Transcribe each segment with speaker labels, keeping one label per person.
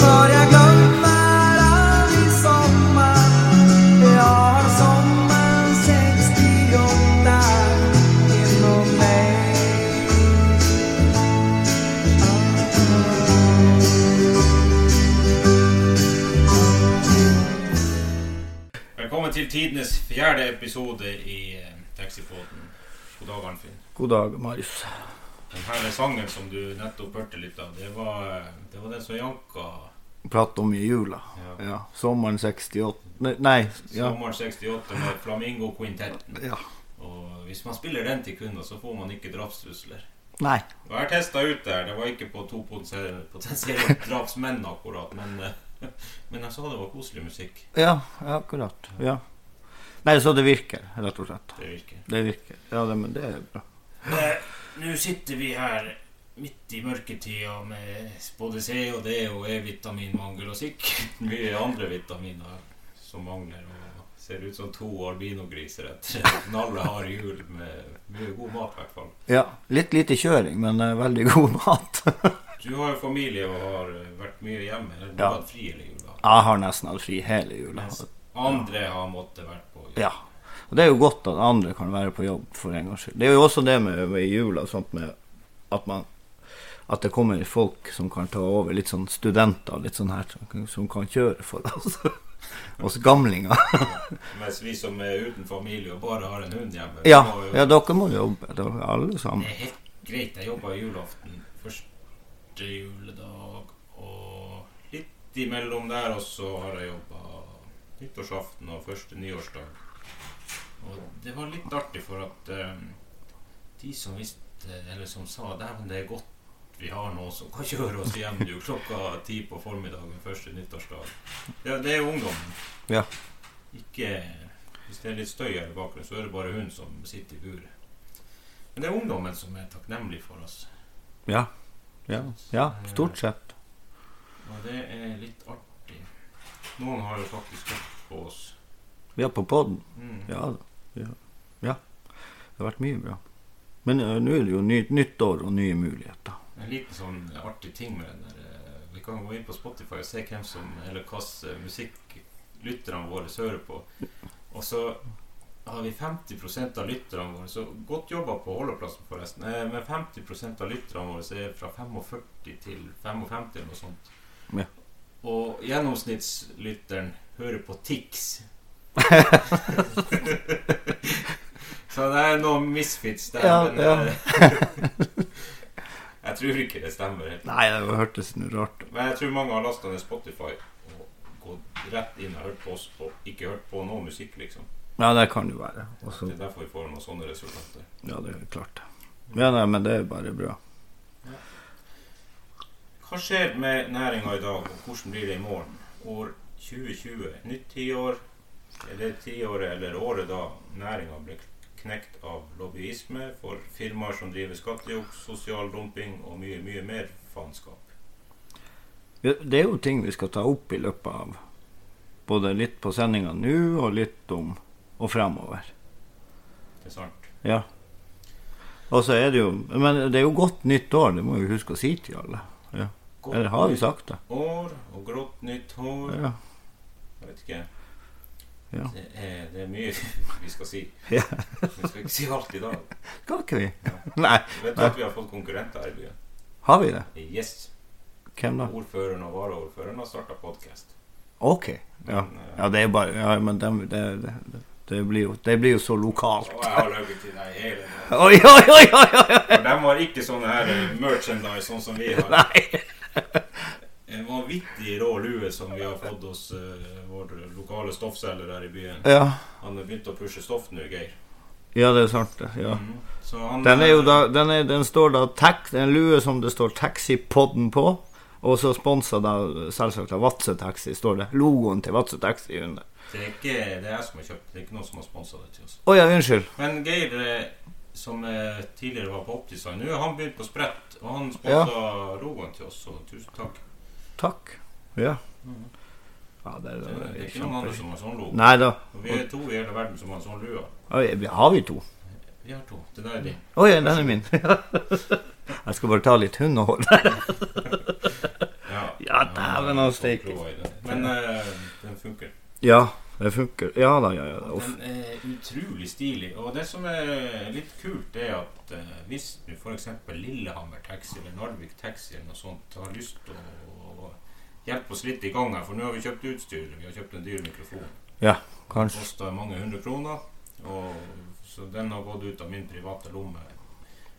Speaker 1: For jeg glemmer aldri sommeren. Jeg har sommeren 68 innom meg.
Speaker 2: Velkommen til tidenes fjerde episode i eh, Taxipodden. God dag, Arnfinn.
Speaker 3: God dag, Marius.
Speaker 2: Den her sangen som du nettopp hørte litt av, det var, eh, det var den som janka
Speaker 3: Prate om i jula.
Speaker 2: ja.
Speaker 3: Ja. Sommeren 68 Nei, nei ja.
Speaker 2: sommeren 68 med Flamingo Quintetten.
Speaker 3: ja.
Speaker 2: Og hvis man spiller den til kunder, så får man ikke drapstrusler.
Speaker 3: Nei.
Speaker 2: Og Jeg har testa ut der. Det var ikke på to potensie- potensielle drapsmenn akkurat, men, eh, men jeg sa det var koselig musikk.
Speaker 3: Ja, ja, akkurat. Ja. Nei, så det virker, rett og slett.
Speaker 2: Det virker.
Speaker 3: Det virker. Ja, det, men det er bra.
Speaker 2: Eh, Nå sitter vi her midt i mørketida med både C og D og E-vitaminmangel og sikkert mye andre vitaminer som mangler. Og ser ut som to albinogriser etter en knallhard jul med mye god mat, i hvert fall.
Speaker 3: Ja. Litt lite kjøring, men eh, veldig god mat.
Speaker 2: Du har jo familie og har eh, vært mye hjemme. Eller Du
Speaker 3: Ja.
Speaker 2: har hatt fri hele jula.
Speaker 3: Jeg har nesten hatt fri hele jula.
Speaker 2: Mens andre har måttet vært på jobb.
Speaker 3: Ja. Og det er jo godt at andre kan være på jobb for en gangs skyld. Det er jo også det med, med jula, sånt med at man at det kommer folk som kan ta over, litt sånn studenter, litt sånn her, som, kan- som kan kjøre for oss. Oss gamlinger.
Speaker 2: Mens vi som er uten familie og bare har en hund hjemme
Speaker 3: Ja,
Speaker 2: må jo-
Speaker 3: ja, dere må jobbe, dere alle sammen.
Speaker 2: Det er helt greit. Jeg jobba julaften første juledag og litt imellom der, og så har jeg jobba nyttårsaften og første nyårsdag. Og det var litt artig, for at eh, de som visste, eller som sa dæven, det er godt vi har noen som kan kjøre oss hjem nå klokka ti på formiddagen første nyttårsdag. Det, det er jo ungdommen.
Speaker 3: Ja.
Speaker 2: Ikke Hvis det er litt støy her i bakgrunnen, så er det bare hun som sitter i buret. Men det er ungdommen som er takknemlig for oss.
Speaker 3: Ja. Ja, ja stort sett.
Speaker 2: Eh, Og det er litt artig. Noen har jo faktisk hørt på oss.
Speaker 3: Vi er på poden.
Speaker 2: Mm.
Speaker 3: Ja da. Ja. ja. Det har vært mye bra. Men eh, nå er det jo ny, nytt år og nye muligheter.
Speaker 2: En liten sånn artig ting med den der eh, Vi kan gå inn på Spotify og se hvem som Eller hvilken musikk lytterne våre hører på. Og så har vi 50 av lytterne våre Så godt jobba på holdeplassen, forresten. Eh, Men 50 av lytterne våre er fra 45 til 55 eller noe sånt.
Speaker 3: Ja.
Speaker 2: Og gjennomsnittslytteren hører på Tix. Så det er noen misfits der.
Speaker 3: Ja,
Speaker 2: men,
Speaker 3: ja.
Speaker 2: eh, jeg tror ikke det stemmer. helt.
Speaker 3: Nei, det hørtes noe rart ut.
Speaker 2: Men jeg tror mange har lasta ned Spotify og gått rett inn og hørt på oss og ikke hørt på noe musikk, liksom.
Speaker 3: Ja, det kan det være. Og så
Speaker 2: Det er derfor vi får noen sånne resultater.
Speaker 3: Ja, det er klart. Ja, nei, men det er bare bra.
Speaker 2: Hva skjer med næringa i dag, og hvordan blir det i morgen? År 2020, nytt tiår. Er det tiåret eller året da næringa ble knekt av lobbyisme for firmaer som driver skattejuks, sosial dumping og mye, mye mer faenskap?
Speaker 3: Det er jo ting vi skal ta opp i løpet av både litt på sendinga nå og litt om og fremover.
Speaker 2: Det er sant.
Speaker 3: Ja. Og så er det jo Men det er jo godt nytt år, det må vi huske å si til alle. Ja. Eller har vi sagt det?
Speaker 2: År og grått nytt hår
Speaker 3: Ja.
Speaker 2: Jeg vet ikke.
Speaker 3: Ja.
Speaker 2: Det, er, det er mye vi skal si.
Speaker 3: Ja.
Speaker 2: Vi skal ikke si alt i dag.
Speaker 3: Skal ikke vi? Nei.
Speaker 2: Vet du at vi har fått konkurrenter her i byen?
Speaker 3: Har vi det?
Speaker 2: Yes.
Speaker 3: Hvem da?
Speaker 2: Ordføreren og varaordføreren har starta podkast.
Speaker 3: OK. Ja. ja, det er bare Ja, men dem- det, det, det, det, blir jo, det blir jo så lokalt.
Speaker 2: Og jeg har løyet til deg hele tiden.
Speaker 3: Oi, oi, oi, oi! oi.
Speaker 2: For de har ikke sånne her eh, merchandise sånn som vi har.
Speaker 3: Nei.
Speaker 2: En vanvittig rå lue som vi har fått hos eh, vår lokale stoffselger her i byen.
Speaker 3: Ja.
Speaker 2: Han har begynt å pushe stoff nå, Geir.
Speaker 3: ja, det er sant, det. Ja.
Speaker 2: Mhm. Så han,
Speaker 3: Den, er jo
Speaker 2: eh,
Speaker 3: da, den, er, den står da tax, det er en lue som det står Taxipodden på. Og så sponsa da selvsagt av Vadsø Taxi, står det. Logoen til Vadsø Taxi under.
Speaker 2: Det er ikke det er jeg som har kjøpt, det er ikke noen som har sponsa det til oss.
Speaker 3: Å ja, unnskyld.
Speaker 2: Men Geir, eh, som eh, tidligere var på Optisign, nå har han begynt på sprett. Og han sponsa Rogan til oss, så tusen takk.
Speaker 3: Takk. Ja. ja det,
Speaker 2: Det
Speaker 3: det,
Speaker 2: er, det er ikke noen andre
Speaker 3: kjempe...
Speaker 2: som har sånn logo.
Speaker 3: Nei da.
Speaker 2: Og vi er to i hele verden som har sånn lue.
Speaker 3: Oi, har vi to?
Speaker 2: Vi har to. Det der er din.
Speaker 3: Å ja, den er min. Jeg skal bare ta litt hundehår.
Speaker 2: Ja,
Speaker 3: Ja, der Dæven av steike.
Speaker 2: Men eh, den funker.
Speaker 3: Ja, det funker. Ja da, ja, ja.
Speaker 2: Og
Speaker 3: Uff.
Speaker 2: Den er utrolig stilig. Og det som er litt kult, det er at eh, hvis du f.eks. Lillehammer Taxi eller Narvik Taxi eller noe sånt har lyst til å hjelpe oss litt i gang her, for nå har vi kjøpt utstyr, vi har kjøpt en dyr mikrofon. Den
Speaker 3: Kanskje.
Speaker 2: kosta mange hundre kroner, og så den har gått ut av min private lomme.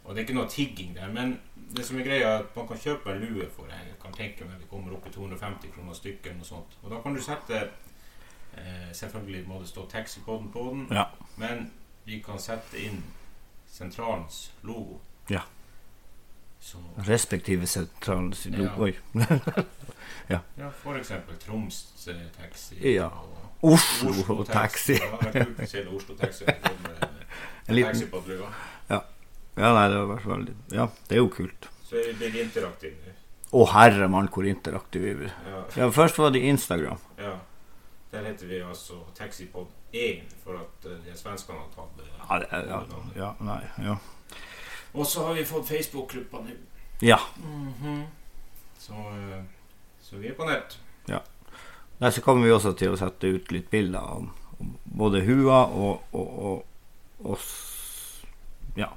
Speaker 2: Og det er ikke noe tigging der, men det som er greia er at man kan kjøpe en lue for jeg kan tenke meg det kommer opp i 250 kroner stykket eller noe sånt. Og da kan du sette eh, Selvfølgelig må det stå taxipoden på den,
Speaker 3: Ja.
Speaker 2: men vi kan sette inn sentralens logo.
Speaker 3: Ja.
Speaker 2: Så
Speaker 3: Respektive sentralen sin lo-
Speaker 2: Ja.
Speaker 3: Oi.
Speaker 2: ja, f.eks. Troms eh, Taxi
Speaker 3: Ja.
Speaker 2: og
Speaker 3: Oslo Taxi.
Speaker 2: Det hadde vært kult å se Oslo Taxi. kom med
Speaker 3: En liten
Speaker 2: Taxi på brua.
Speaker 3: Ja, nei, det har vært veldig Ja, det er jo kult.
Speaker 2: Så jeg blir interaktiv nå.
Speaker 3: Å herre mann, hvor interaktiv vi blir.
Speaker 2: Ja,
Speaker 3: Ja, først var det Instagram.
Speaker 2: ja. Der heter vi altså Taxipod 1, for at eh, de svenskene har tatt det.
Speaker 3: Ja, det, ja, ja nei, ja.
Speaker 2: Og så har vi fått Facebook-gruppa nå.
Speaker 3: Ja.
Speaker 2: så, eh, så vi er på nett.
Speaker 3: Nei, så kommer vi også til å sette ut litt bilder om, om både hua og, og, og oss. Ja.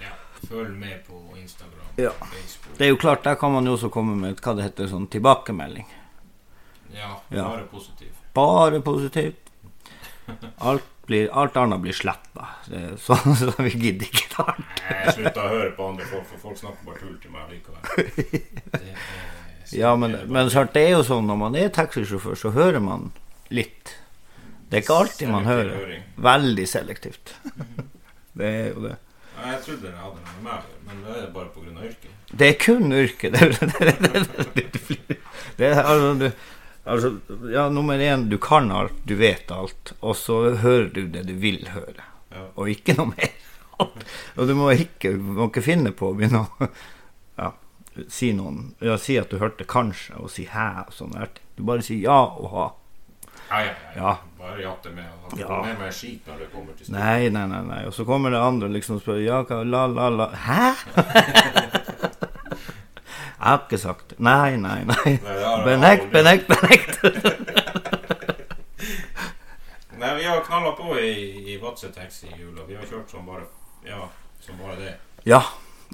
Speaker 2: Ja. Følg med på Instagram,
Speaker 3: Ja.
Speaker 2: Facebook
Speaker 3: Det er jo klart, der kan man jo også komme med hva det heter, sånn tilbakemelding.
Speaker 2: Ja,
Speaker 3: Ja.
Speaker 2: bare positiv.
Speaker 3: Bare positivt. Alt, blir, alt annet blir sletta. Så, så sånn vi gidder ikke ta det.
Speaker 2: Jeg slutta å høre på andre folk, for folk snakker bare tull til meg likevel. Det er-
Speaker 3: Ja, men,
Speaker 2: det er bare-
Speaker 3: men sant, det er jo sånn når man er taxisjåfør, så hører man litt. Det er ikke alltid man
Speaker 2: Selektiv
Speaker 3: hører.
Speaker 2: høring.
Speaker 3: Veldig selektivt. Det er jo det.
Speaker 2: Nei, Jeg trodde det hadde noe med meg å gjøre, men det er bare pga. yrket.
Speaker 3: Det er kun yrket. Det, det, det, det, det, det er altså, du, altså Ja, nummer én, du kan alt, du vet alt, og så hører du det du vil høre,
Speaker 2: Ja.
Speaker 3: og ikke noe mer. Og du må ikke, du må ikke finne på å begynne å ja, si noen ja, Si at du hørte 'kanskje', og si 'hæ' og sånn. der. Du bare sier ja og ha.
Speaker 2: Ja, ja, ja.
Speaker 3: Ja.
Speaker 2: Bare jatte med. og
Speaker 3: Ja.
Speaker 2: ta Med meg skit når det kommer til stykket.
Speaker 3: Nei, nei, nei. nei. Og så kommer det andre liksom og spør Ja, hva La, la, la Hæ? Jeg har ikke sagt det. Nei, nei, nei.
Speaker 2: Nei, det har jeg
Speaker 3: Benekt,
Speaker 2: aldri.
Speaker 3: benekt, benekt.
Speaker 2: Nei, vi har knalla på i, i Vadsø taxi i jula. Vi har kjørt som bare Ja, som bare det.
Speaker 3: Ja.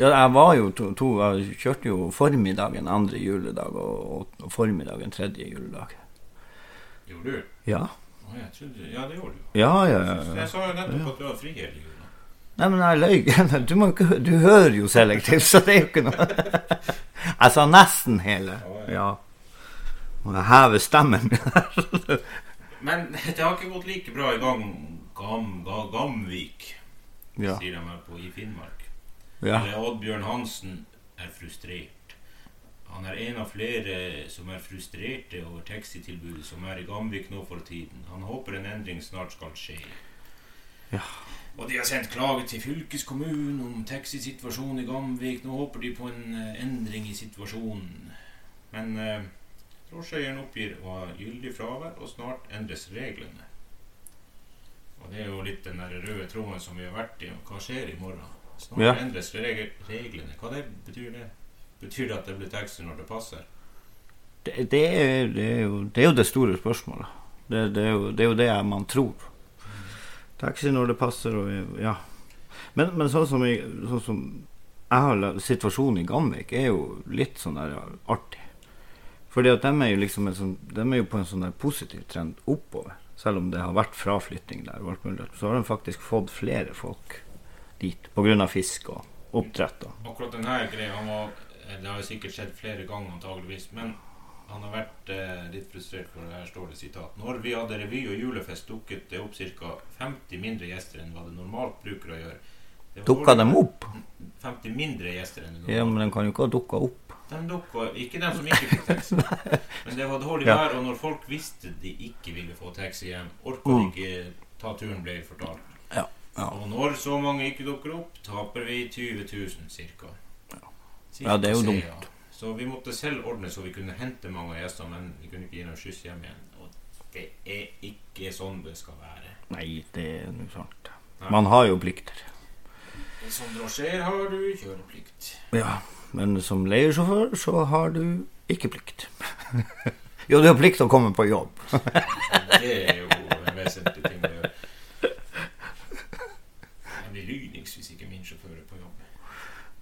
Speaker 3: ja jeg var jo to, to Jeg kjørte jo formiddagen andre juledag og, og formiddagen tredje juledag.
Speaker 2: Gjorde du?
Speaker 3: Ja.
Speaker 2: Å, jeg trodde, ja, det gjorde du.
Speaker 3: Ja, ja,
Speaker 2: Så
Speaker 3: ja.
Speaker 2: Jeg sa jo nettopp at du hadde fri hele jula.
Speaker 3: Nei, men jeg løy. Du, må jo ikke, hø- du hører jo selektivt, så det er jo ikke noe Jeg sa nesten hele. Ja. Må jeg heve stemmen min her?
Speaker 2: Men det har ikke gått like bra i gang Gam, ga, Gamvik,
Speaker 3: Ja.
Speaker 2: sier de her på i Finnmark.
Speaker 3: ja.
Speaker 2: Der Oddbjørn Hansen er frustrert. Han er en av flere som er frustrerte over taxitilbudet som er i Gamvik nå for tiden. Han håper en endring snart skal skje.
Speaker 3: Ja.
Speaker 2: Og de har sendt klage til fylkeskommunen om taxisituasjonen i Gamvik. Nå håper de på en eh, endring i situasjonen. Men eh, drosjeeieren oppgir å ha gyldig fravær, og snart endres reglene. Og det er jo litt den der røde tråden som vi har vært i. og Hva skjer i morgen? Snart
Speaker 3: Ja.
Speaker 2: endres reg- reglene. Hva det betyr det? Betyr det at det blir taxi når det passer?
Speaker 3: Det, det, er, det, er jo, det er jo det store spørsmålet. Det, det, er, jo, det er jo det man tror. Taxi når det passer og ja. Men, men sånn som, jeg, sånn som jeg har lært- Situasjonen i Gamvik er jo litt sånn der artig. Fordi at de er jo liksom en sånn, de er jo på en sånn der positiv trend oppover. Selv om det har vært fraflytting der, og alt mulig, så har de faktisk fått flere folk dit pga. fisk og oppdrett. og-
Speaker 2: Akkurat denne greia han var, eh, Det har jo sikkert skjedd flere ganger antageligvis Men han har vært eh, litt frustrert For her står det sitat Når vi hadde revy og julefest dukket det opp Cirka 50 mindre gjester enn hva det normalt bruker å gjøre Det var
Speaker 3: Dukka
Speaker 2: dårlig-
Speaker 3: de opp?
Speaker 2: 50 mindre gjester enn det
Speaker 3: Ja,
Speaker 2: normalt
Speaker 3: men de kan jo ikke ha dukka opp.
Speaker 2: De dukka, ikke dem som ikke fikk taxi Men det var dårlig
Speaker 3: Ja.
Speaker 2: vær Og når folk visste de ikke ville få taxi hjem Orket de ikke ta turen ble de fortalt
Speaker 3: Mm. Ja, ja.
Speaker 2: Og når så mange ikke dukker opp Taper vi 20 000 cirka
Speaker 3: Ja, det er jo
Speaker 2: Cirka,
Speaker 3: dumt.
Speaker 2: sier jeg. Så vi måtte selv ordne så vi kunne hente mange av gjestene, men vi kunne ikke gi dem skyss hjem igjen. Og det er ikke sånn det skal være.
Speaker 3: Nei, det er nå sant.
Speaker 2: Nei.
Speaker 3: Man har jo plikter.
Speaker 2: Som drosjeer har du kjøreplikt.
Speaker 3: Ja, men som leiesjåfør så har du ikke plikt. Jo, du har plikt til å komme på jobb.
Speaker 2: Det er jo en vesentlig ting å gjøre. Jeg blir lynings hvis ikke min sjåfør er på jobb.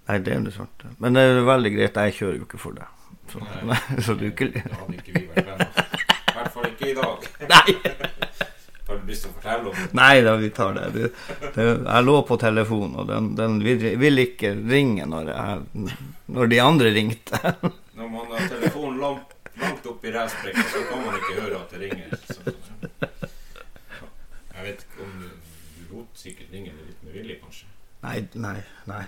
Speaker 3: Nei, det er jo sant. Men det er jo veldig greit. Jeg kjører jo ikke for deg. Så,
Speaker 2: Nei.
Speaker 3: nei, så du ikke
Speaker 2: Da hadde ikke vi vært venner. I hvert fall ikke i dag.
Speaker 3: Nei!
Speaker 2: Har du lyst til å fortelle om det?
Speaker 3: Nei da, vi tar det. det, det jeg lå på telefonen, og den, den vil- ville ikke ringe når, jeg, når de andre ringte.
Speaker 2: Når man har telefonen langt, langt opp i rævsprekken, så kan man ikke høre at det ringer. Så. Jeg vet ikke om du, du lot sikkert ringe det litt med vilje, kanskje.
Speaker 3: Nei, nei, nei.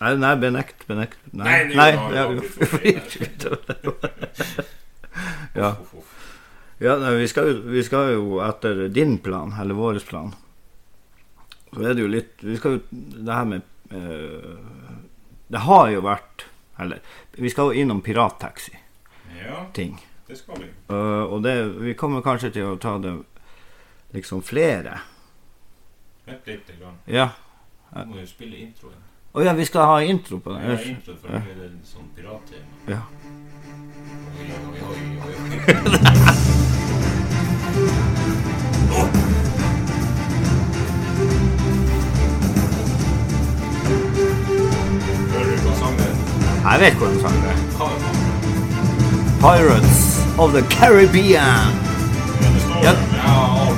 Speaker 3: Nei, nei benekt, benekt.
Speaker 2: Nei,
Speaker 3: Nei,
Speaker 2: det
Speaker 3: nei.
Speaker 2: var-
Speaker 3: ja,
Speaker 2: det var-
Speaker 3: vi får ikke- Ja.
Speaker 2: Uff, uff, uff.
Speaker 3: Ja, nei, vi skal, jo- vi skal jo etter din plan, eller vår plan. Så er det jo litt Vi skal jo Det her med eh, Det har jo vært Eller vi skal jo innom pirattaxi-ting.
Speaker 2: Ja, det skal vi.
Speaker 3: Eh, og det, vi kommer kanskje til å ta det liksom flere.
Speaker 2: Vent lite grann.
Speaker 3: Ja.
Speaker 2: Du må jo spille introen.
Speaker 3: Å ja, vi skal ha intro på
Speaker 2: Jeg
Speaker 3: den.
Speaker 2: har intro for det er en sånn pirattema.
Speaker 3: Ja.
Speaker 2: Oi, oi, oi, oi, oi. Åh! Hører du hva sangen
Speaker 3: Jeg vet hvor den sangen er.
Speaker 2: Hva er det?
Speaker 3: Pirates of the Caribbean.
Speaker 2: Men det står
Speaker 3: Ja.
Speaker 2: der, men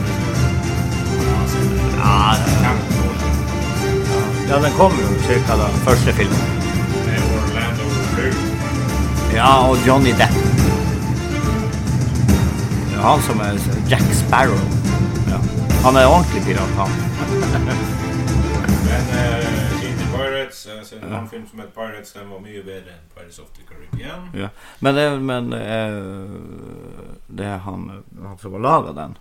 Speaker 2: jeg har aldri sett det.
Speaker 3: Ja,
Speaker 2: Kjempe dårlig.
Speaker 3: ja den kommer jo cirka da første filmen.
Speaker 2: Det er Orlando Bloom.
Speaker 3: Ja, og Johnny Depp. Det er han som er Jack Sparrow. Ja. Han er ordentlig pirat, han.
Speaker 2: Men eh, Indie Pirates, eh, så en annen film som heter Pirates, den var mye bedre enn Pirates of the Caribbean.
Speaker 3: Ja. Men det, men det er, det er han, han som har laga den.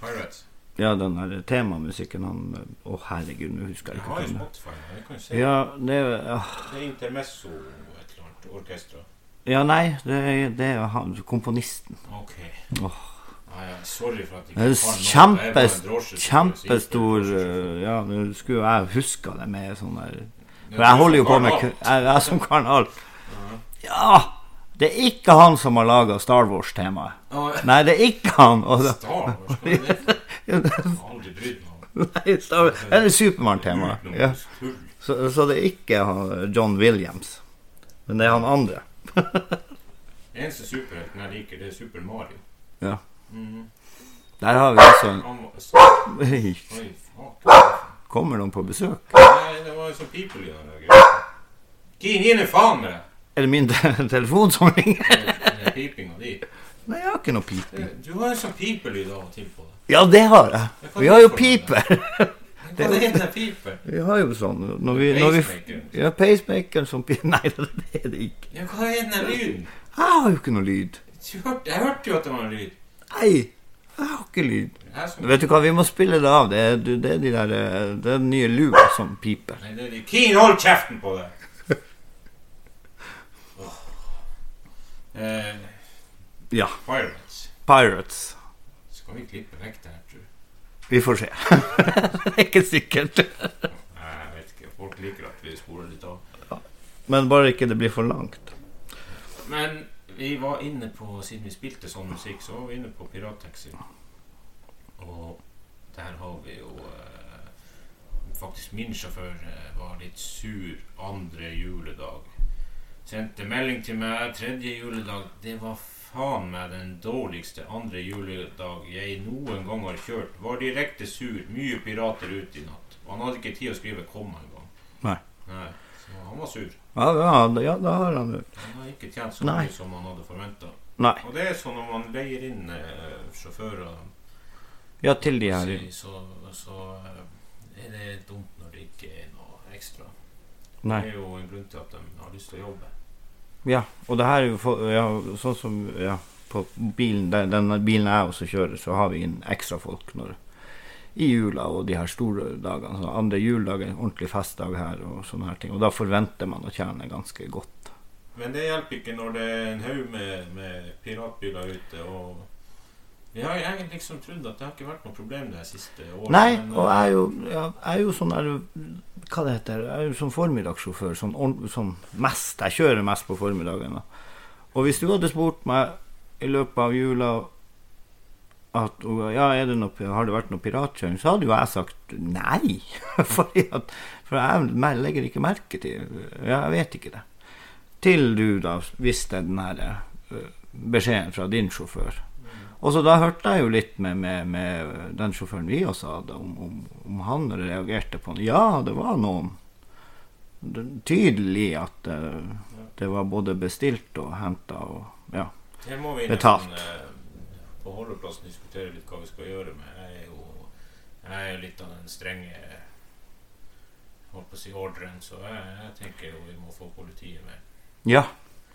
Speaker 2: Pirates.
Speaker 3: Ja, den der temamusikken han Å, herregud, nå husker jeg
Speaker 2: Jeg
Speaker 3: ikke.
Speaker 2: har jo
Speaker 3: hva den er.
Speaker 2: Spotify, jeg kan jo se.
Speaker 3: Ja, det er- ah.
Speaker 2: Det er Intermezzo et eller annet orkestra.
Speaker 3: Ja, nei, det er, det er han, komponisten.
Speaker 2: Ok.
Speaker 3: Åh.
Speaker 2: Nei, ja, sorry for at jeg
Speaker 3: Det er
Speaker 2: ikke
Speaker 3: jo
Speaker 2: kan noe. Jeg er bare
Speaker 3: kjempes-
Speaker 2: en drosje som
Speaker 3: Kjempestor
Speaker 2: sier for drosje.
Speaker 3: eh, Ja, nå skulle jo jeg huska det med sånn der
Speaker 2: Men
Speaker 3: For jeg holder jo
Speaker 2: du
Speaker 3: på med
Speaker 2: kan
Speaker 3: ku-
Speaker 2: alt.
Speaker 3: Jeg jeg som kan alt. Ja! Det er ikke han som har laga Star Wars-temaet.
Speaker 2: Ah,
Speaker 3: Nei, det er ikke han. Og det,
Speaker 2: Star Wars, hva er det for? Jeg har aldri brydd meg om.
Speaker 3: nei, Star Wars, det er Supermann-temaet. Ja.
Speaker 2: Utenom tull.
Speaker 3: Så, så det er ikke han, eh, John Williams. Men det er han andre.
Speaker 2: Den eneste superhelten jeg liker, det er Super Mario.
Speaker 3: Ja.
Speaker 2: Mhm.
Speaker 3: Der har vi altså en
Speaker 2: Han var
Speaker 3: Oi,
Speaker 2: Oi, fuck.
Speaker 3: Kommer noen på besøk?
Speaker 2: Nei, det var jo så pipelig den der greia. Gi inn i faen med det!
Speaker 3: Er det min te- telefon som ringer?
Speaker 2: Den der pipinga di.
Speaker 3: Nei, jeg har ikke noe piping.
Speaker 2: Du har jo sånn pipelyd av og til på deg.
Speaker 3: Ja, det har jeg. Vi har jo piper.
Speaker 2: Hva er det heter piper?
Speaker 3: Vi har jo sånn når vi, når vi,
Speaker 2: Pacemaker.
Speaker 3: Ja, pacemaker som piper. Nei, det er det ikke.
Speaker 2: Ja, hva er den der lyden?
Speaker 3: Jeg har jo ikke noe lyd.
Speaker 2: Du hørte- Jeg hørte jo at det var en lyd.
Speaker 3: Nei, jeg har ikke lyd.
Speaker 2: Jeg som...
Speaker 3: Vet du hva, vi må spille det av. Det er, du- det er de der eh, Det er den nye lua som piper.
Speaker 2: Nei, det er de. Keen, hold kjeften på deg! Åh. Eh,
Speaker 3: Ja.
Speaker 2: Pirates.
Speaker 3: Pirates.
Speaker 2: Skal vi klippe vekk det her, tror du?
Speaker 3: Vi får se. det er ikke sikkert.
Speaker 2: Nei, jeg vet ikke. Folk liker at vi spoler litt av.
Speaker 3: Men bare ikke det blir for langt.
Speaker 2: Men vi var inne på, siden vi spilte sånn musikk, så var vi inne på pirattaxi. Og der har vi jo eh, Faktisk min sjåfør eh, var litt sur andre juledag. Sendte melding til meg tredje juledag. Det var faen meg den dårligste andre juledag jeg noen gang har kjørt. Var direkte sur. Mye pirater ute i natt. Og han hadde ikke tid å skrive 'komma' engang.
Speaker 3: Nei.
Speaker 2: Nei. Så han var sur.
Speaker 3: Ja, ja, ja da har han jo
Speaker 2: Han har ikke tjent så
Speaker 3: Nei.
Speaker 2: mye som han hadde forventa.
Speaker 3: Nei.
Speaker 2: Og det er sånn når man leier inn eh, sjåfører,
Speaker 3: Ja, til de her.
Speaker 2: si, så, så eh, er det dumt når det ikke er noe ekstra.
Speaker 3: Nei.
Speaker 2: Det er jo en grunn til at de har lyst til å jobbe.
Speaker 3: Ja, og det her er jo for, ja, sånn som ja, på bilen, den, den bilen jeg også kjører, så har vi inn ekstra folk når, i jula og de her store dagene. Så andre juledag er en ordentlig festdag her og sånne her ting. Og da forventer man å tjene ganske godt.
Speaker 2: Men det hjelper ikke når det er en haug med, med piratbiler ute og vi har jeg har liksom trodd at det har ikke vært noe problem det her siste året.
Speaker 3: Nei,
Speaker 2: men, eh,
Speaker 3: og jeg er jo, ja, jeg er jo sånn der Hva det heter Jeg er jo sånn formiddagssjåfør. Sånn, ord- sånn mest. Jeg kjører mest på formiddagen. Da. Og hvis du hadde spurt meg i løpet av jula at hun, ja, er det noe, har det vært noe piratkjøring, så hadde jo jeg sagt nei. Fordi at, for jeg mer- legger ikke merke til ja, Jeg vet ikke det. Til du da visste den her eh, beskjeden fra din sjåfør. Og så da hørte jeg jo litt med, med, med den sjåføren vi også hadde, om, om, om han reagerte på det. Ja, det var noen. Det er Tydelig at eh, det var både bestilt og henta og ja.
Speaker 2: Her må vi inn i
Speaker 3: Betalt.
Speaker 2: sånn, eh, på holdeplassen diskutere litt hva vi skal gjøre med. Jeg er jo jeg er litt av den strenge holdt på å si ordren, så jeg, jeg tenker jo vi må få politiet med.
Speaker 3: Ja.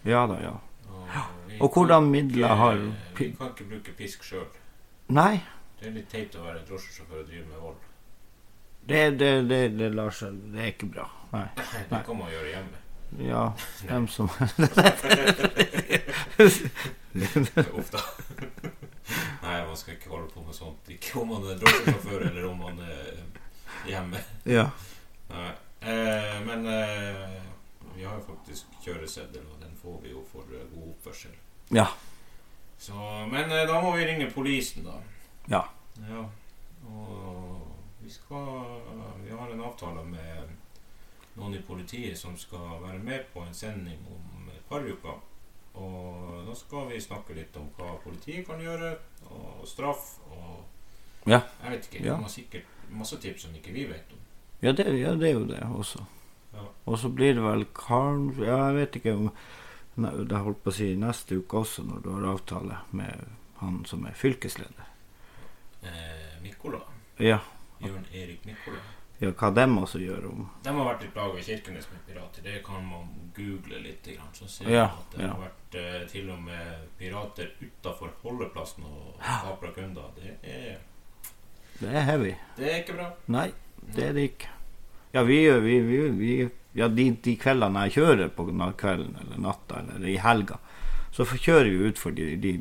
Speaker 3: Ja da, ja.
Speaker 2: Og, vi
Speaker 3: Og hvordan
Speaker 2: kan
Speaker 3: midler
Speaker 2: ikke-
Speaker 3: har
Speaker 2: Vi kan ikke bruke pisk sjøl.
Speaker 3: Nei,
Speaker 2: Det er litt teit å være drosjesjåfør og drive med vold.
Speaker 3: det, det, det, det lar seg Det er ikke bra. Nei. Nei.
Speaker 2: Det kan man gjøre hjemme.
Speaker 3: Ja, dem som
Speaker 2: Uff da. Nei, man skal ikke holde på med sånt. Ikke om man er drosjesjåfør eller om man er hjemme.
Speaker 3: Ja.
Speaker 2: Nei. Eh, men eh, vi har jo faktisk kjøreseddel, og den får vi jo for eh, god oppførsel.
Speaker 3: Ja.
Speaker 2: Så, men eh, da må vi ringe polisen, da.
Speaker 3: Ja.
Speaker 2: Ja. Og vi skal Vi har en avtale med noen i politiet som skal være med på en sending om et par uker. Og da skal vi snakke litt om hva politiet kan gjøre, og straff og
Speaker 3: Ja.
Speaker 2: Jeg vet ikke.
Speaker 3: Ja.
Speaker 2: De har sikkert masse tips som ikke vi vet om.
Speaker 3: Ja, det, ja, det er jo det også.
Speaker 2: Ja.
Speaker 3: Og så blir det vel kanskje Ja, jeg vet ikke om Nei, Det holdt på å si neste uke også, når du har avtale med han som er fylkesleder.
Speaker 2: Eh, Mikola.
Speaker 3: Ja,
Speaker 2: Jørn Erik Mikola.
Speaker 3: ja hva dem også gjør om
Speaker 2: De har vært i plaga i Kirkenes med pirater. Det kan man google litt. Grann, så ser
Speaker 3: Ja,
Speaker 2: man at det
Speaker 3: ja.
Speaker 2: har vært eh, til og med pirater utafor holdeplassen og kapra kunder. Det er,
Speaker 3: Det er heavy.
Speaker 2: det er ikke bra.
Speaker 3: Nei, det er det ikke. Ja, vi gjør vi, vi, vi, Ja, de, de kveldene jeg kjører på na- kvelden eller natta eller i helga, så får- kjører vi utfor de, de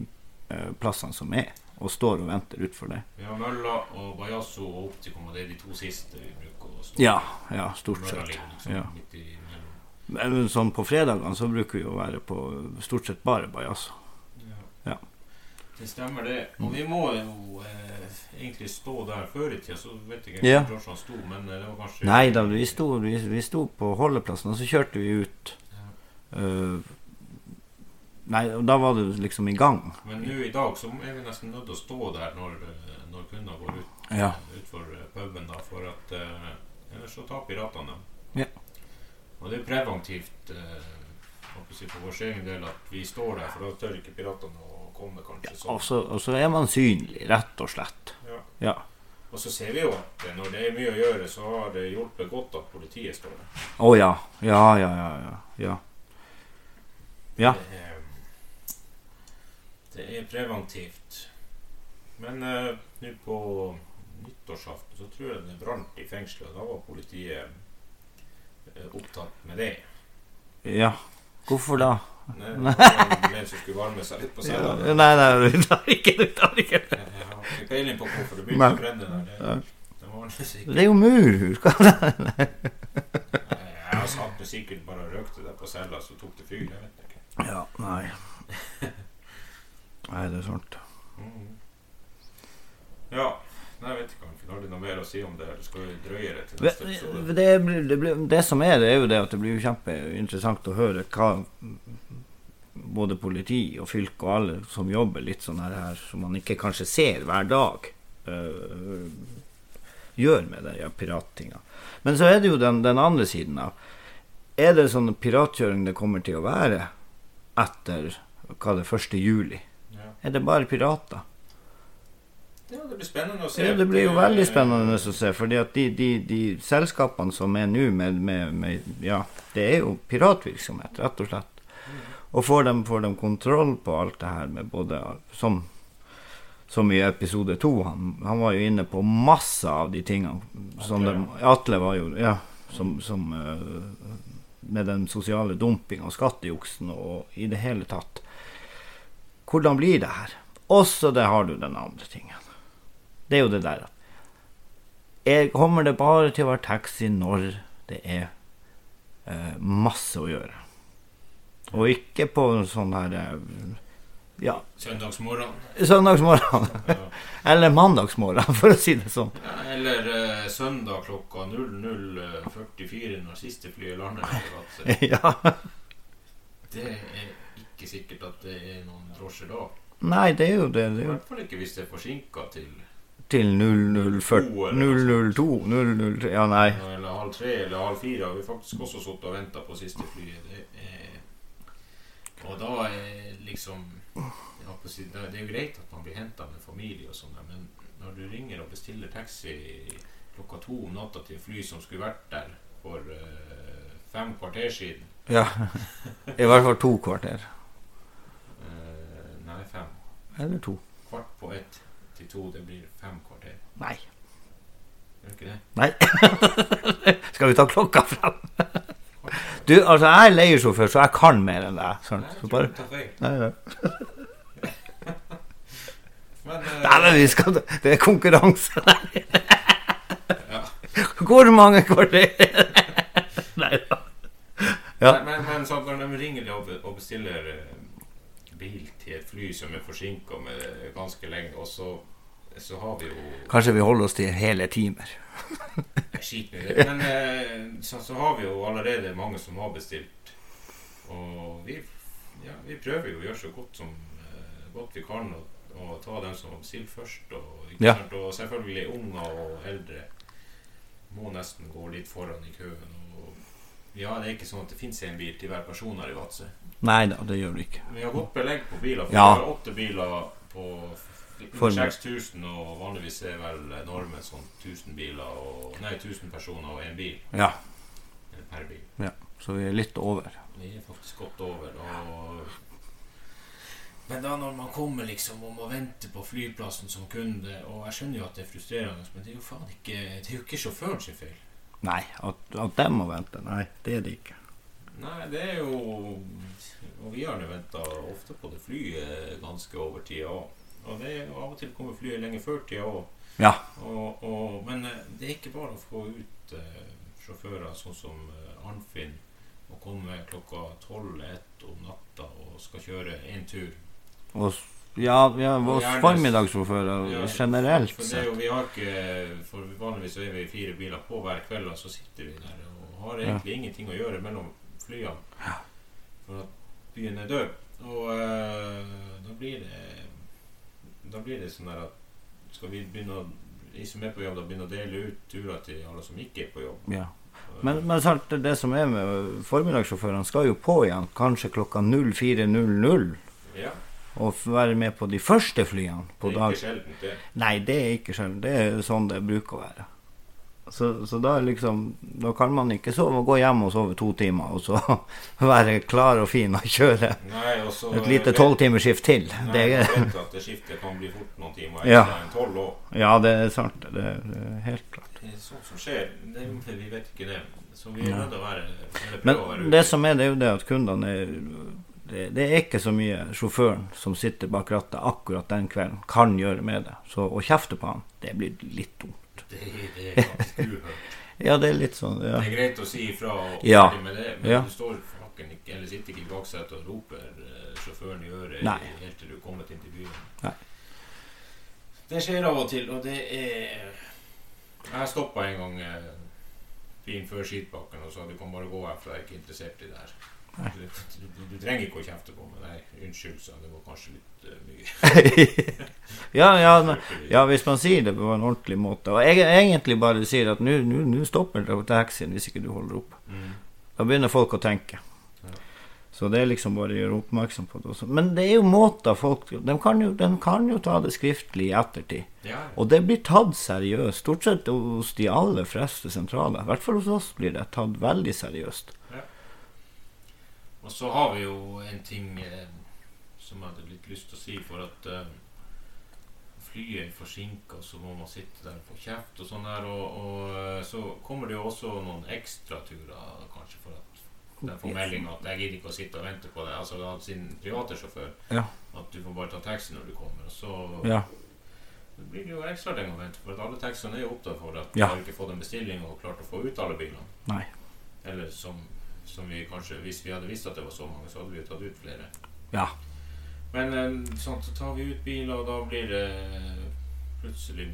Speaker 3: eh, plassene som er, og står og venter utfor det.
Speaker 2: Vi har Mølla og Bajasso og Optikum, og det er de to siste vi bruker å stå
Speaker 3: Ja, ja, stort
Speaker 2: Mølla
Speaker 3: sett.
Speaker 2: ligger liksom
Speaker 3: Ja.
Speaker 2: midt i mellom.
Speaker 3: Men men sånn på fredagene så bruker vi å være på stort sett bare bajas. Ja.
Speaker 2: Det stemmer, det. Og vi må jo eh, egentlig stå der før i tida, så vet jeg ikke
Speaker 3: Ja.
Speaker 2: hvor drosjene sto, men eh, det var kanskje
Speaker 3: Nei da, vi sto, vi, vi sto på holdeplassen, og så kjørte vi ut. eh, nei, og da var det liksom i gang.
Speaker 2: Men nå i dag så er vi nesten nødt til å stå der når, eh, når kunder går ut
Speaker 3: Ja.
Speaker 2: utfor eh, puben, da, for at eh, ellers så tar piratene dem.
Speaker 3: Ja.
Speaker 2: Og det er preventivt eh, håper jeg å si, for vår egen del at vi står der, for da tør ikke piratene å komme, kanskje.
Speaker 3: Og
Speaker 2: Så.
Speaker 3: så, og så er man synlig, rett og slett.
Speaker 2: Ja.
Speaker 3: Ja.
Speaker 2: Og så ser vi jo at eh, når det er mye å gjøre, så har det hjulpet godt at politiet står der.
Speaker 3: Å ja. Ja, ja, ja, ja. ja. Ja.
Speaker 2: Det, er, det er preventivt. Men eh, nå på nyttårsaften så tror jeg det brant i fengselet, og da var politiet eh, opptatt med det.
Speaker 3: ja. Hvorfor da?
Speaker 2: Nei, det var en som skulle varme seg litt på
Speaker 3: Ja,
Speaker 2: seg.
Speaker 3: nei, nei, du tar ikke, du tar ikke.
Speaker 2: Jeg har ikke peiling på hvorfor det
Speaker 3: Nei.
Speaker 2: begynte å brenne der. Det, det var det sikkert.
Speaker 3: Det er jo mur. hva-
Speaker 2: Jeg satt jo sikkert bare og røkte der på cella, så tok det fyr. Jeg vet ikke.
Speaker 3: Ja, nei. Nei, det er sant.
Speaker 2: Mm. Ja. Nei, jeg vet ikke. Har du noe mer å si om det? Eller skal vi drøyere til
Speaker 3: Det,
Speaker 2: neste episode?
Speaker 3: det, blir- det, blir- det som er, det er jo det at det blir jo kjempeinteressant å høre hva både politi og fylke og alle som jobber litt sånn her, her som man ikke kanskje ser hver dag, øh, gjør med den ja, pirattinga. Men så er det jo den, den andre siden av Er det sånn piratkjøring det kommer til å være etter hva det er, 1. juli?
Speaker 2: Ja.
Speaker 3: Er det bare pirater?
Speaker 2: ja, det blir spennende å se. eh,
Speaker 3: Ja, det blir jo veldig spennende å se, fordi at de, de, de selskapene som er nå med, med, med Ja, det er jo piratvirksomhet, rett og slett. Og får de, får de kontroll på alt det her med både Som, som i episode to, han, han var jo inne på masse av de tingene som de Atle var jo Ja, som, som eh, Med den sosiale dumping og skattejuksen og i det hele tatt. Hvordan blir det her? Også det har du den andre tingen. Det er jo det der. Jeg kommer det bare til å være taxi når det er eh, masse å gjøre. Og ikke på en sånn her eh, Ja.
Speaker 2: Søndagsmorgen.
Speaker 3: Søndagsmorgen.
Speaker 2: Ja.
Speaker 3: Eller mandagsmorgen, for å si det sånn.
Speaker 2: Eller eh, søndag klokka 00.44 når siste flyet lander. For at, eh,
Speaker 3: Ja.
Speaker 2: det er ikke sikkert at det er noen drosjer da.
Speaker 3: Nei, det er jo det. det
Speaker 2: I
Speaker 3: er jo
Speaker 2: hvert fall ikke hvis det er forsinka til
Speaker 3: til 0040 002 003 Ja, nei.
Speaker 2: eller halv tre eller halv fire. Har vi faktisk også sittet og venta på siste flyet. Det er, og da er liksom jeg holdt på å si, Det det er jo greit at man blir henta med familie og sånn, der, men når du ringer og bestiller taxi klokka to om natta til fly som skulle vært der for eh, fem kvarter siden
Speaker 3: Ja. I hvert fall to kvarter.
Speaker 2: Eh, Nei, fem.
Speaker 3: Eller to.
Speaker 2: Kvart på ett til to, det blir fem kvarter.
Speaker 3: Nei.
Speaker 2: Gjør ikke det?
Speaker 3: Nei. Skal vi ta klokka fram? Du, altså, jeg er leiesjåfør, så jeg kan mer enn deg. Sant?
Speaker 2: Nei, jeg
Speaker 3: Så
Speaker 2: tror
Speaker 3: bare
Speaker 2: du tar feil.
Speaker 3: Nei, nei.
Speaker 2: Men, eh,
Speaker 3: Nei, men vi skal Det er konkurranse. Nei.
Speaker 2: Ja.
Speaker 3: Hvor mange kvarter? Nei da. Ja.
Speaker 2: Nei, men, men sånn, når de ringer og be- og bestiller eh, bil til et fly som er forsinka ganske lenge, og så, så har vi jo
Speaker 3: Kanskje vi holder oss til hele timer.
Speaker 2: Skit med det. Men eh, så, så har vi jo allerede mange som har bestilt. Og vi, ja, vi prøver jo å gjøre så godt som eh, godt vi kan, og, og ta dem som har bestilt først. Og, ikke
Speaker 3: Ja.
Speaker 2: sant? og selvfølgelig unger og eldre må nesten gå litt foran i køen. Og, ja, det er ikke sånn at det fins en bil til hver person her i Vadsø.
Speaker 3: Nei da, det gjør du ikke.
Speaker 2: Vi har godt belegg på biler. For
Speaker 3: Ja.
Speaker 2: Vi har åtte biler på
Speaker 3: For-
Speaker 2: 6000, og vanligvis er vel normen sånn 1000 biler og, Nei, 1000 personer og én bil
Speaker 3: Ja,
Speaker 2: eh, per bil.
Speaker 3: så vi er litt over.
Speaker 2: Vi er faktisk godt over. Og men da når man kommer liksom og må vente på flyplassen som kunde Og jeg skjønner jo at det er frustrerende, men det er jo faen ikke Det er jo ikke sjåføren sin feil.
Speaker 3: Nei, at, at de må vente. Nei, det er det ikke.
Speaker 2: Nei, det er jo Og vi har nå venta ofte på det flyet ganske over tida òg. Og det er, av og til kommer flyet lenge før tida òg.
Speaker 3: Ja.
Speaker 2: Og, og, men eh, det er ikke bare å få ut eh, sjåfører sånn som eh, Arnfinn og komme klokka 12-1 om natta og skal kjøre én tur.
Speaker 3: Og s- ja, ja
Speaker 2: Og
Speaker 3: oss
Speaker 2: gjerne-
Speaker 3: formiddagssjåfører
Speaker 2: Ja,
Speaker 3: generelt
Speaker 2: For, det er
Speaker 3: sett.
Speaker 2: jo, vi har ikke, for vanligvis så er vi fire biler på hver kveld, og så sitter vi der og har egentlig ingenting å gjøre mellom flyene. For at byen er død. Og eh, da blir det Da blir det sånn der at skal vi begynne å de som er på jobb, da begynne å dele ut turer til alle som ikke er på jobb.
Speaker 3: Ja. Men, men sant, det som er med formiddagssjåførene, skal jo på igjen kanskje klokka 04.00
Speaker 2: Ja,
Speaker 3: og f- være med på de første flyene på
Speaker 2: det er
Speaker 3: dag
Speaker 2: ikke sjeldent, det.
Speaker 3: Nei, det er ikke sjelden. Det er sånn det bruker å være. Så, så da er liksom Da kan man ikke sove, gå hjem og sove to timer, og så være klar og fin og kjøre
Speaker 2: Nei, og så
Speaker 3: et lite tolvtimersskift til.
Speaker 2: Nei,
Speaker 3: Det
Speaker 2: jeg
Speaker 3: er,
Speaker 2: vet at det skiftet kan bli fort noen timer
Speaker 3: Ja.
Speaker 2: ekstra enn tolv òg.
Speaker 3: ja, det er sant. Det er det er helt klart.
Speaker 2: Det er sånt som skjer. Det, er- vi vet ikke det. Så vi er nødt til å være eller prøve å være
Speaker 3: Men
Speaker 2: ute.
Speaker 3: det som er, det er jo det at kundene er det, det er ikke så mye sjåføren som sitter bak rattet akkurat den kvelden, kan gjøre med det. Så å kjefte på han, det blir litt dumt.
Speaker 2: Det, det er faktisk uhørt.
Speaker 3: Ja, det er litt sånn, ja.
Speaker 2: Det er greit å si ifra og
Speaker 3: Ja.
Speaker 2: ferdig med det, men
Speaker 3: Ja.
Speaker 2: du står fucking ikke Eller sitter ikke i baksetet og roper eh, sjåføren i øret
Speaker 3: Nei.
Speaker 2: helt til du er kommet inn til byen.
Speaker 3: Nei.
Speaker 2: Det skjer av og til, og det er Jeg stoppa en gang eh, bilen før skitbakken og sa du kan bare gå herfra, jeg er ikke interessert i det her. Du, du, du trenger ikke å kjefte på meg. Nei, unnskyld, sa han. Det var kanskje litt eh, mye.
Speaker 3: ja, ja, ne- ja, hvis man sier det på en ordentlig måte. Og jeg egentlig bare sier at nå- nå nå stopper det taxien hvis ikke du holder opp.
Speaker 2: Mm.
Speaker 3: Da begynner folk å tenke.
Speaker 2: Ja.
Speaker 3: Så det er liksom bare å gjøre oppmerksom på det også. Men det er jo måter folk De kan jo, de kan jo ta det skriftlig i ettertid.
Speaker 2: Ja, ja.
Speaker 3: Og det blir tatt seriøst. Stort sett hos de aller fleste sentraler. I hvert fall hos oss blir det tatt veldig seriøst.
Speaker 2: Og så har vi jo en ting eh, som jeg hadde litt lyst til å si, for at eh, flyet er forsinka, så må man sitte der og få kjeft og sånn der. Og, og eh, så kommer det jo også noen ekstraturer, kanskje, for at de får melding at 'jeg gidder ikke å sitte og vente på deg'. Altså da har sin private sjåfør.
Speaker 3: Ja.
Speaker 2: At du får bare ta taxi når du kommer. Og så
Speaker 3: Ja.
Speaker 2: det blir det jo ekstra lenge å vente, for at alle taxiene er jo opptatt for at
Speaker 3: Ja.
Speaker 2: de har ikke fått en bestilling og klart å få ut alle bilene.
Speaker 3: Nei.
Speaker 2: Eller som, som vi kanskje Hvis vi hadde visst at det var så mange, så hadde vi jo tatt ut flere.
Speaker 3: Ja.
Speaker 2: Men eh, sånn, så tar vi ut biler, og da blir det eh, plutselig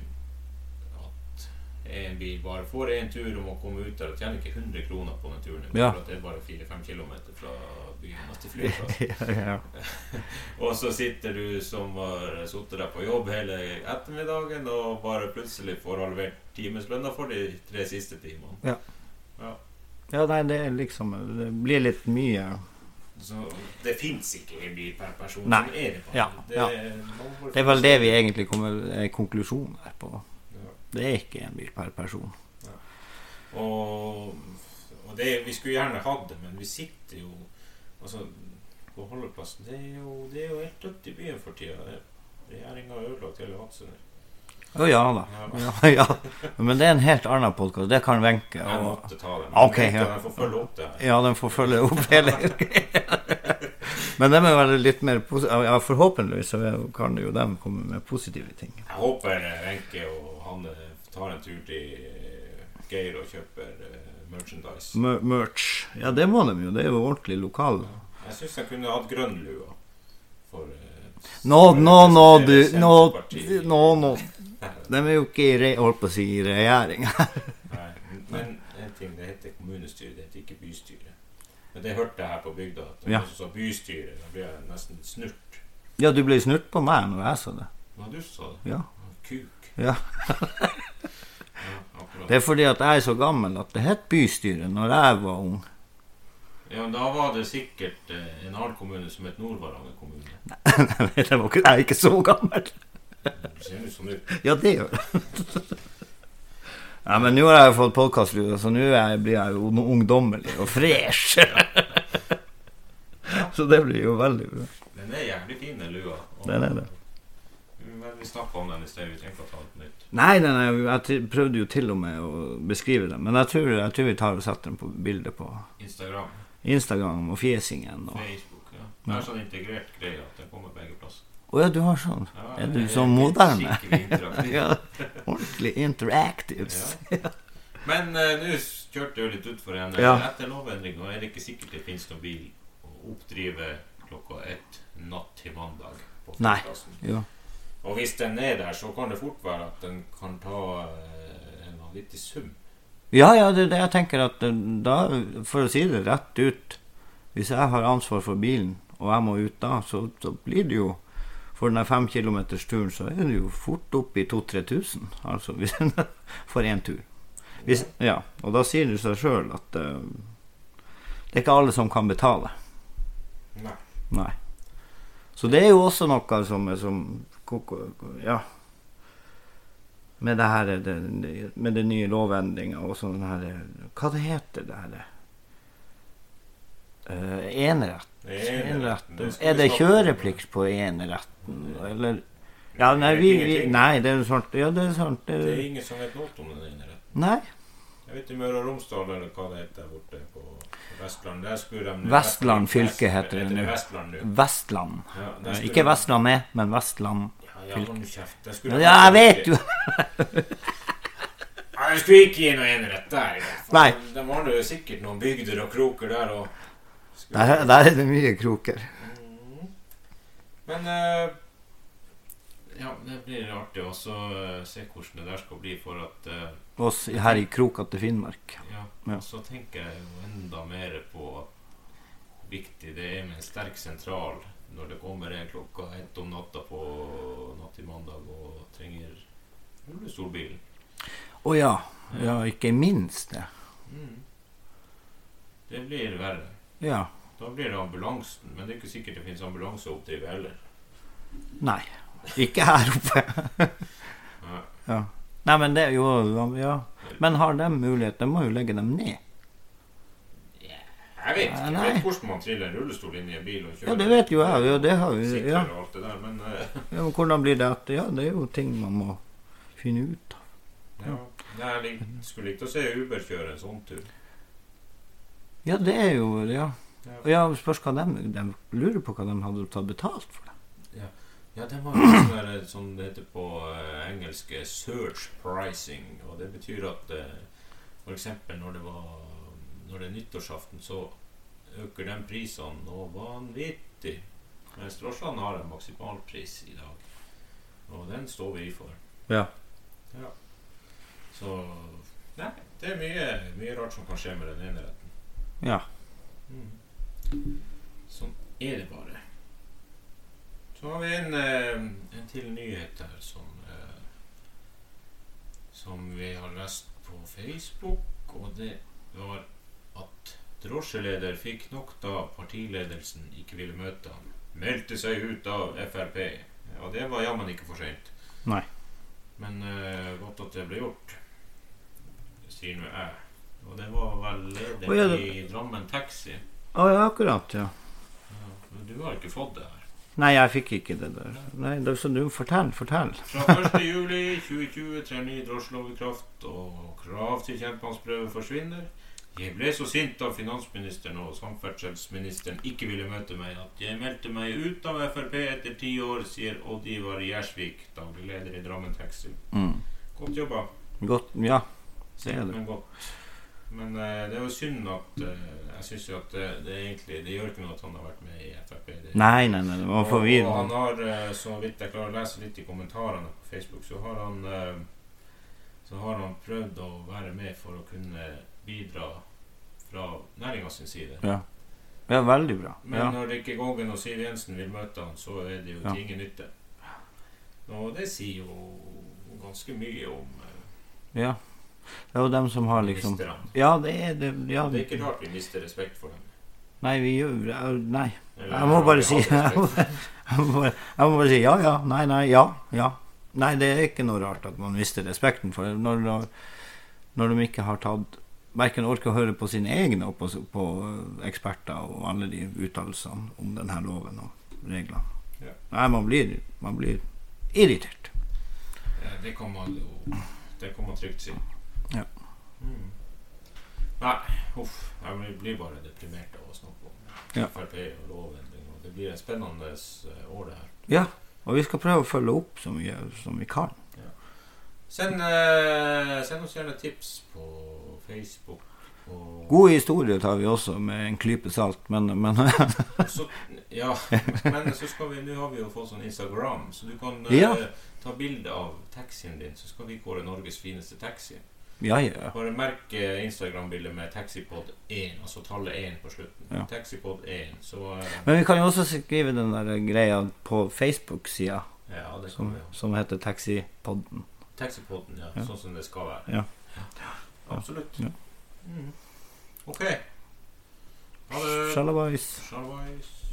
Speaker 2: at en bil bare får en tur og må komme ut der og tjener ikke 100 kroner på den turen.
Speaker 3: Ja.
Speaker 2: For at det er bare 4-5 km fra byen og til flyplassen.
Speaker 3: ja, ja.
Speaker 2: Og så sitter du som har sittet der på jobb hele ettermiddagen, og bare plutselig får halvert timeslønna for de tre siste timene.
Speaker 3: ja, nei, det er liksom Det blir litt mye
Speaker 2: Så det fins ikke en bil per person.
Speaker 3: Nei.
Speaker 2: Sånn er det bare.
Speaker 3: Ja,
Speaker 2: Det,
Speaker 3: ja.
Speaker 2: man får-
Speaker 3: Det er vel det vi egentlig kommer eh, konklusjonen her på.
Speaker 2: Ja.
Speaker 3: Det er ikke en bil per person.
Speaker 2: Og, og det, vi skulle gjerne hatt det, men vi sitter jo altså, på holdeplassen. Det er jo, det er jo helt dødt i byen for tida. Regjeringa har ødelagt hele Hadsund.
Speaker 3: Å ja da. Ja, ja. Men det er en helt annen podkast. Det kan Wenche.
Speaker 2: Jeg
Speaker 3: og-
Speaker 2: måtte ta den.
Speaker 3: Ok,
Speaker 2: Jeg
Speaker 3: ja.
Speaker 2: måtte- Jeg får følge opp det. her.
Speaker 3: Ja, den får følge opp hele Men de er vel litt mer positive. Ja, forhåpentligvis så kan jo de komme med positive ting.
Speaker 2: Jeg håper eh, Wenche og Hanne tar en tur til eh, Geir og kjøper eh, merchandise.
Speaker 3: Mer- Merch. Ja, det må de jo. Det er jo ordentlig lokal.
Speaker 2: Jeg syns jeg kunne hatt grønn lue. For eh,
Speaker 3: Nå,
Speaker 2: for å
Speaker 3: nå, nå,
Speaker 2: representere
Speaker 3: du Nå,
Speaker 2: Senterpartiet.
Speaker 3: nå, nå. De er jo ikke i re, holdt på å si, i regjering.
Speaker 2: Nei, men en ting, det heter kommunestyre, det heter ikke bystyre. Men det hørte jeg her på bygda. At det
Speaker 3: Ja.
Speaker 2: var også bystyre. Da ble jeg nesten litt snurt.
Speaker 3: Ja, du ble snurt på meg når jeg sa det.
Speaker 2: Hva du sa du?
Speaker 3: Ja.
Speaker 2: Kuk.
Speaker 3: Ja.
Speaker 2: Ja, akkurat.
Speaker 3: Det er fordi at jeg er så gammel at det het bystyre når jeg var ung.
Speaker 2: Ja, men da var det sikkert eh, en annen kommune som het Nord-Varanger kommune.
Speaker 3: Nei, det var ikke, jeg er ikke så gammel.
Speaker 2: Det ser ut som det
Speaker 3: Ja, det gjør jeg. Nei, men nå har jeg fått podkastlyd, så nå er jeg- blir jeg jo no- ungdommelig og fresh. Så det blir jo veldig bra.
Speaker 2: Den er jævlig fin, den lua. Og-
Speaker 3: Den er det.
Speaker 2: Men vi snakka om den i sted. Vi trenger ikke å ta den på nytt.
Speaker 3: Nei, nei, nei jeg til- prøvde jo til og med å beskrive det, men jeg tror, jeg tror vi tar og setter den på bildet på
Speaker 2: Instagram,
Speaker 3: Instagram og fjesingen. Og
Speaker 2: Facebook. ja. Det er sånn integrert greie at den kommer begge plasser.
Speaker 3: Å ja, du har sånn.
Speaker 2: Ja,
Speaker 3: Er
Speaker 2: det
Speaker 3: du så moderne?
Speaker 2: Skikkelig interaktiv.
Speaker 3: Ja, ordentlig interactive.
Speaker 2: Ja. Men eh, nå s- kjørte jeg jo litt utfor igjen.
Speaker 3: Ja.
Speaker 2: Etter lovendringa er det ikke sikkert det finnes noen bil å oppdrive klokka ett natt til mandag. på
Speaker 3: Nei.
Speaker 2: flyplassen.
Speaker 3: Ja.
Speaker 2: Og hvis den er der, så kan det fort være at den kan ta eh, en vanvittig sum.
Speaker 3: Ja, ja, det er det jeg tenker at eh, da, for å si det rett ut Hvis jeg har ansvar for bilen, og jeg må ut da, så, så blir det jo For den fem kilometers turen, så er det jo fort opp i 2000-3000. Altså hvis en for én tur. Hvis, ja, og da sier det seg sjøl at eh, det er ikke alle som kan betale.
Speaker 2: Nei.
Speaker 3: Nei. Så det er jo også noe som, er som koko- Ja. Med det her det, det- Med den nye lovendringa og sånn her Hva det heter det her? Eh, enerett.
Speaker 2: eneretten, det
Speaker 3: eneretten.
Speaker 2: skal
Speaker 3: Er
Speaker 2: vi
Speaker 3: det
Speaker 2: snakke om.
Speaker 3: kjøreplikt på eneretten, eller Ja, nei, vi, vi Nei, det er jo sånt Ja, det er sånt
Speaker 2: Det er
Speaker 3: eh,
Speaker 2: ingen som vet noe om den eneretten.
Speaker 3: Nei.
Speaker 2: Jeg vet i Møre og Romsdal, eller hva det heter der borte på Vestland Der skulle de
Speaker 3: Vestland fylke heter det
Speaker 2: det
Speaker 3: nå.
Speaker 2: Vestland nå.
Speaker 3: Vestland.
Speaker 2: Ja, der skulle
Speaker 3: Ikke
Speaker 2: de-
Speaker 3: Vestlandet, men Vestland.
Speaker 2: Ja, ja, hold nå kjeft. Der skulle de-
Speaker 3: Ja, jeg vet jo!
Speaker 2: Nei, Jeg skulle ikke gi noe enerett der. i hvert fall.
Speaker 3: Nei.
Speaker 2: De har jo sikkert noen bygder og kroker der og
Speaker 3: Der, der er det mye kroker.
Speaker 2: Men eh, Ja, det blir artig også å eh, se hvordan det der skal bli, for at eh,
Speaker 3: Oss her i Kroka til Finnmark.
Speaker 2: Ja.
Speaker 3: Ja.
Speaker 2: og Så tenker jeg jo enda mer på hvor viktig det er med en sterk sentral når det kommer en klokka ett om natta på natt til mandag og trenger rullestolbilen.
Speaker 3: Å ja. Ja, ikke minst det.
Speaker 2: Mm. Det blir verre.
Speaker 3: Ja.
Speaker 2: Da blir det ambulansen, men det er ikke sikkert det finnes ambulanse å oppdrive heller.
Speaker 3: Nei. Ikke her oppe.
Speaker 2: Nei.
Speaker 3: ja. Nei, men det er jo Ja. Men har de mulighet? De må jo legge dem ned.
Speaker 2: Jeg vet ikke jeg
Speaker 3: Nei.
Speaker 2: vet hvordan man triller en rullestol inn i en bil og kjører.
Speaker 3: Ja, det vet jo jeg. Ja, det har vi.
Speaker 2: Sikrer
Speaker 3: Ja.
Speaker 2: og alt det der, men eh,
Speaker 3: ja, men hvordan blir det at Ja, det er jo ting man må finne ut av.
Speaker 2: ja. Nei, jeg lik- skulle likt å se Uber kjøre en sånn tur.
Speaker 3: Ja, det er jo Ja. Og ja, spørs hva de De lurer på hva de hadde tatt betalt for det.
Speaker 2: Ja, det var jo sånn der, som det heter på eh, engelske search pricing. Og det betyr at eh, for eksempel når det var Når det er nyttårsaften, så øker de prisene noe vanvittig. Mens drosjene har en maksimalpris i dag. Og den står vi for.
Speaker 3: Ja.
Speaker 2: Ja. Så Nei, det er mye, mye rart som kan skje med den ene retten.
Speaker 3: Ja.
Speaker 2: Mm. Sånn er det bare. Så har vi en, eh, en til nyhet her som eh, Som vi har lest på Facebook, og det var at drosjeleder fikk nok da partiledelsen ikke ville møte ham. Meldte seg ut av Frp. Og det var jammen ikke for seint.
Speaker 3: Nei.
Speaker 2: Men eh, godt at det ble gjort, sier nå jeg. Og det var vel leder
Speaker 3: Å, ja, det-
Speaker 2: i Drammen Taxi.
Speaker 3: Å ja, akkurat, ja.
Speaker 2: Ja, men du har ikke fått det her.
Speaker 3: Nei, jeg fikk ikke det der. Nei, det, så du fortell, fortell.
Speaker 2: Fra 1. juli 2020 trer ny drosjelov i kraft, og krav til kjempemannsprøve forsvinner. Jeg ble så sint da finansministeren og samferdselsministeren ikke ville møte meg, at jeg meldte meg ut av Frp etter ti år, sier Odd Ivar Gjersvik, daglig leder i Drammen Taxi.
Speaker 3: Mm.
Speaker 2: Godt jobba.
Speaker 3: Godt, ja. Det er
Speaker 2: Sent,
Speaker 3: det.
Speaker 2: men godt. Men eh, det er jo synd at eh, Jeg syns jo at eh, det egentlig Det gjør ikke noe at han har vært med i Frp. Det-
Speaker 3: Nei, nei, nei, det var
Speaker 2: Og han
Speaker 3: forvirrende.
Speaker 2: har, eh, så vidt jeg klarer å lese litt i kommentarene på Facebook, så har han eh, Så har han prøvd å være med for å kunne bidra fra næringa sin side.
Speaker 3: Ja. ja, veldig bra.
Speaker 2: Men
Speaker 3: Ja.
Speaker 2: når Rikke Gågen og Siv Jensen vil møte han, så er det jo
Speaker 3: Ja.
Speaker 2: til ingen nytte. Og det sier jo ganske mye om eh,
Speaker 3: ja. Det er jo dem som har liksom
Speaker 2: ministrene.
Speaker 3: Ja, det er det. Ja.
Speaker 2: Det er ikke rart vi mister respekt for dem.
Speaker 3: Nei, vi gjør ja, Nei.
Speaker 2: Eller
Speaker 3: Jeg må
Speaker 2: har vi
Speaker 3: bare si
Speaker 2: hatt
Speaker 3: jeg må,
Speaker 2: respekt?
Speaker 3: jeg, må, jeg må bare si ja, ja. Nei, nei, ja. Ja. Nei, det er ikke noe rart at man mister respekten for det. Når, når, når de ikke har tatt Verken orker å høre på sine egne og på, på eh, eksperter og alle de uttalelsene om denne loven og reglene.
Speaker 2: Ja.
Speaker 3: Nei, man blir, man blir irritert.
Speaker 2: Ja, det kan man jo Det kan man trygt si.
Speaker 3: Ja.
Speaker 2: Mm. Nei, uff. Jeg blir- blir bare deprimert av å snakke om
Speaker 3: Ja.
Speaker 2: Frp og lovendring. Og det blir et spennende eh, år, det her.
Speaker 3: Ja, og vi skal prøve å følge opp så mye som vi kan. Mm.
Speaker 2: Send, eh, send oss gjerne tips på Facebook. Og
Speaker 3: Gode historier tar vi også med en klype salt, men, men
Speaker 2: så, ja, men så skal vi Nå har vi jo fått sånn Instagram, så du kan eh,
Speaker 3: Ja.
Speaker 2: ta bilde av taxien din. Så skal vi kåre Norges fineste taxi.
Speaker 3: Ja, ja.
Speaker 2: Bare merk eh, Instagram-bildet med Taxipod 1, altså tallet 1 på slutten.
Speaker 3: Ja.
Speaker 2: Taxipod 1, så eh,
Speaker 3: Men vi kan jo også skrive den der greia på Facebook-sida
Speaker 2: Ja, det kan
Speaker 3: som,
Speaker 2: vi ha.
Speaker 3: som heter Taxipodden.
Speaker 2: Taxipoden, ja,
Speaker 3: Sånn. Ja.
Speaker 2: Sånn som det skal være.
Speaker 3: Ja.
Speaker 2: Absolutt.
Speaker 3: Ja.
Speaker 2: Mhm. OK. Ha det.
Speaker 3: Sjalabais.
Speaker 2: Sjalabais.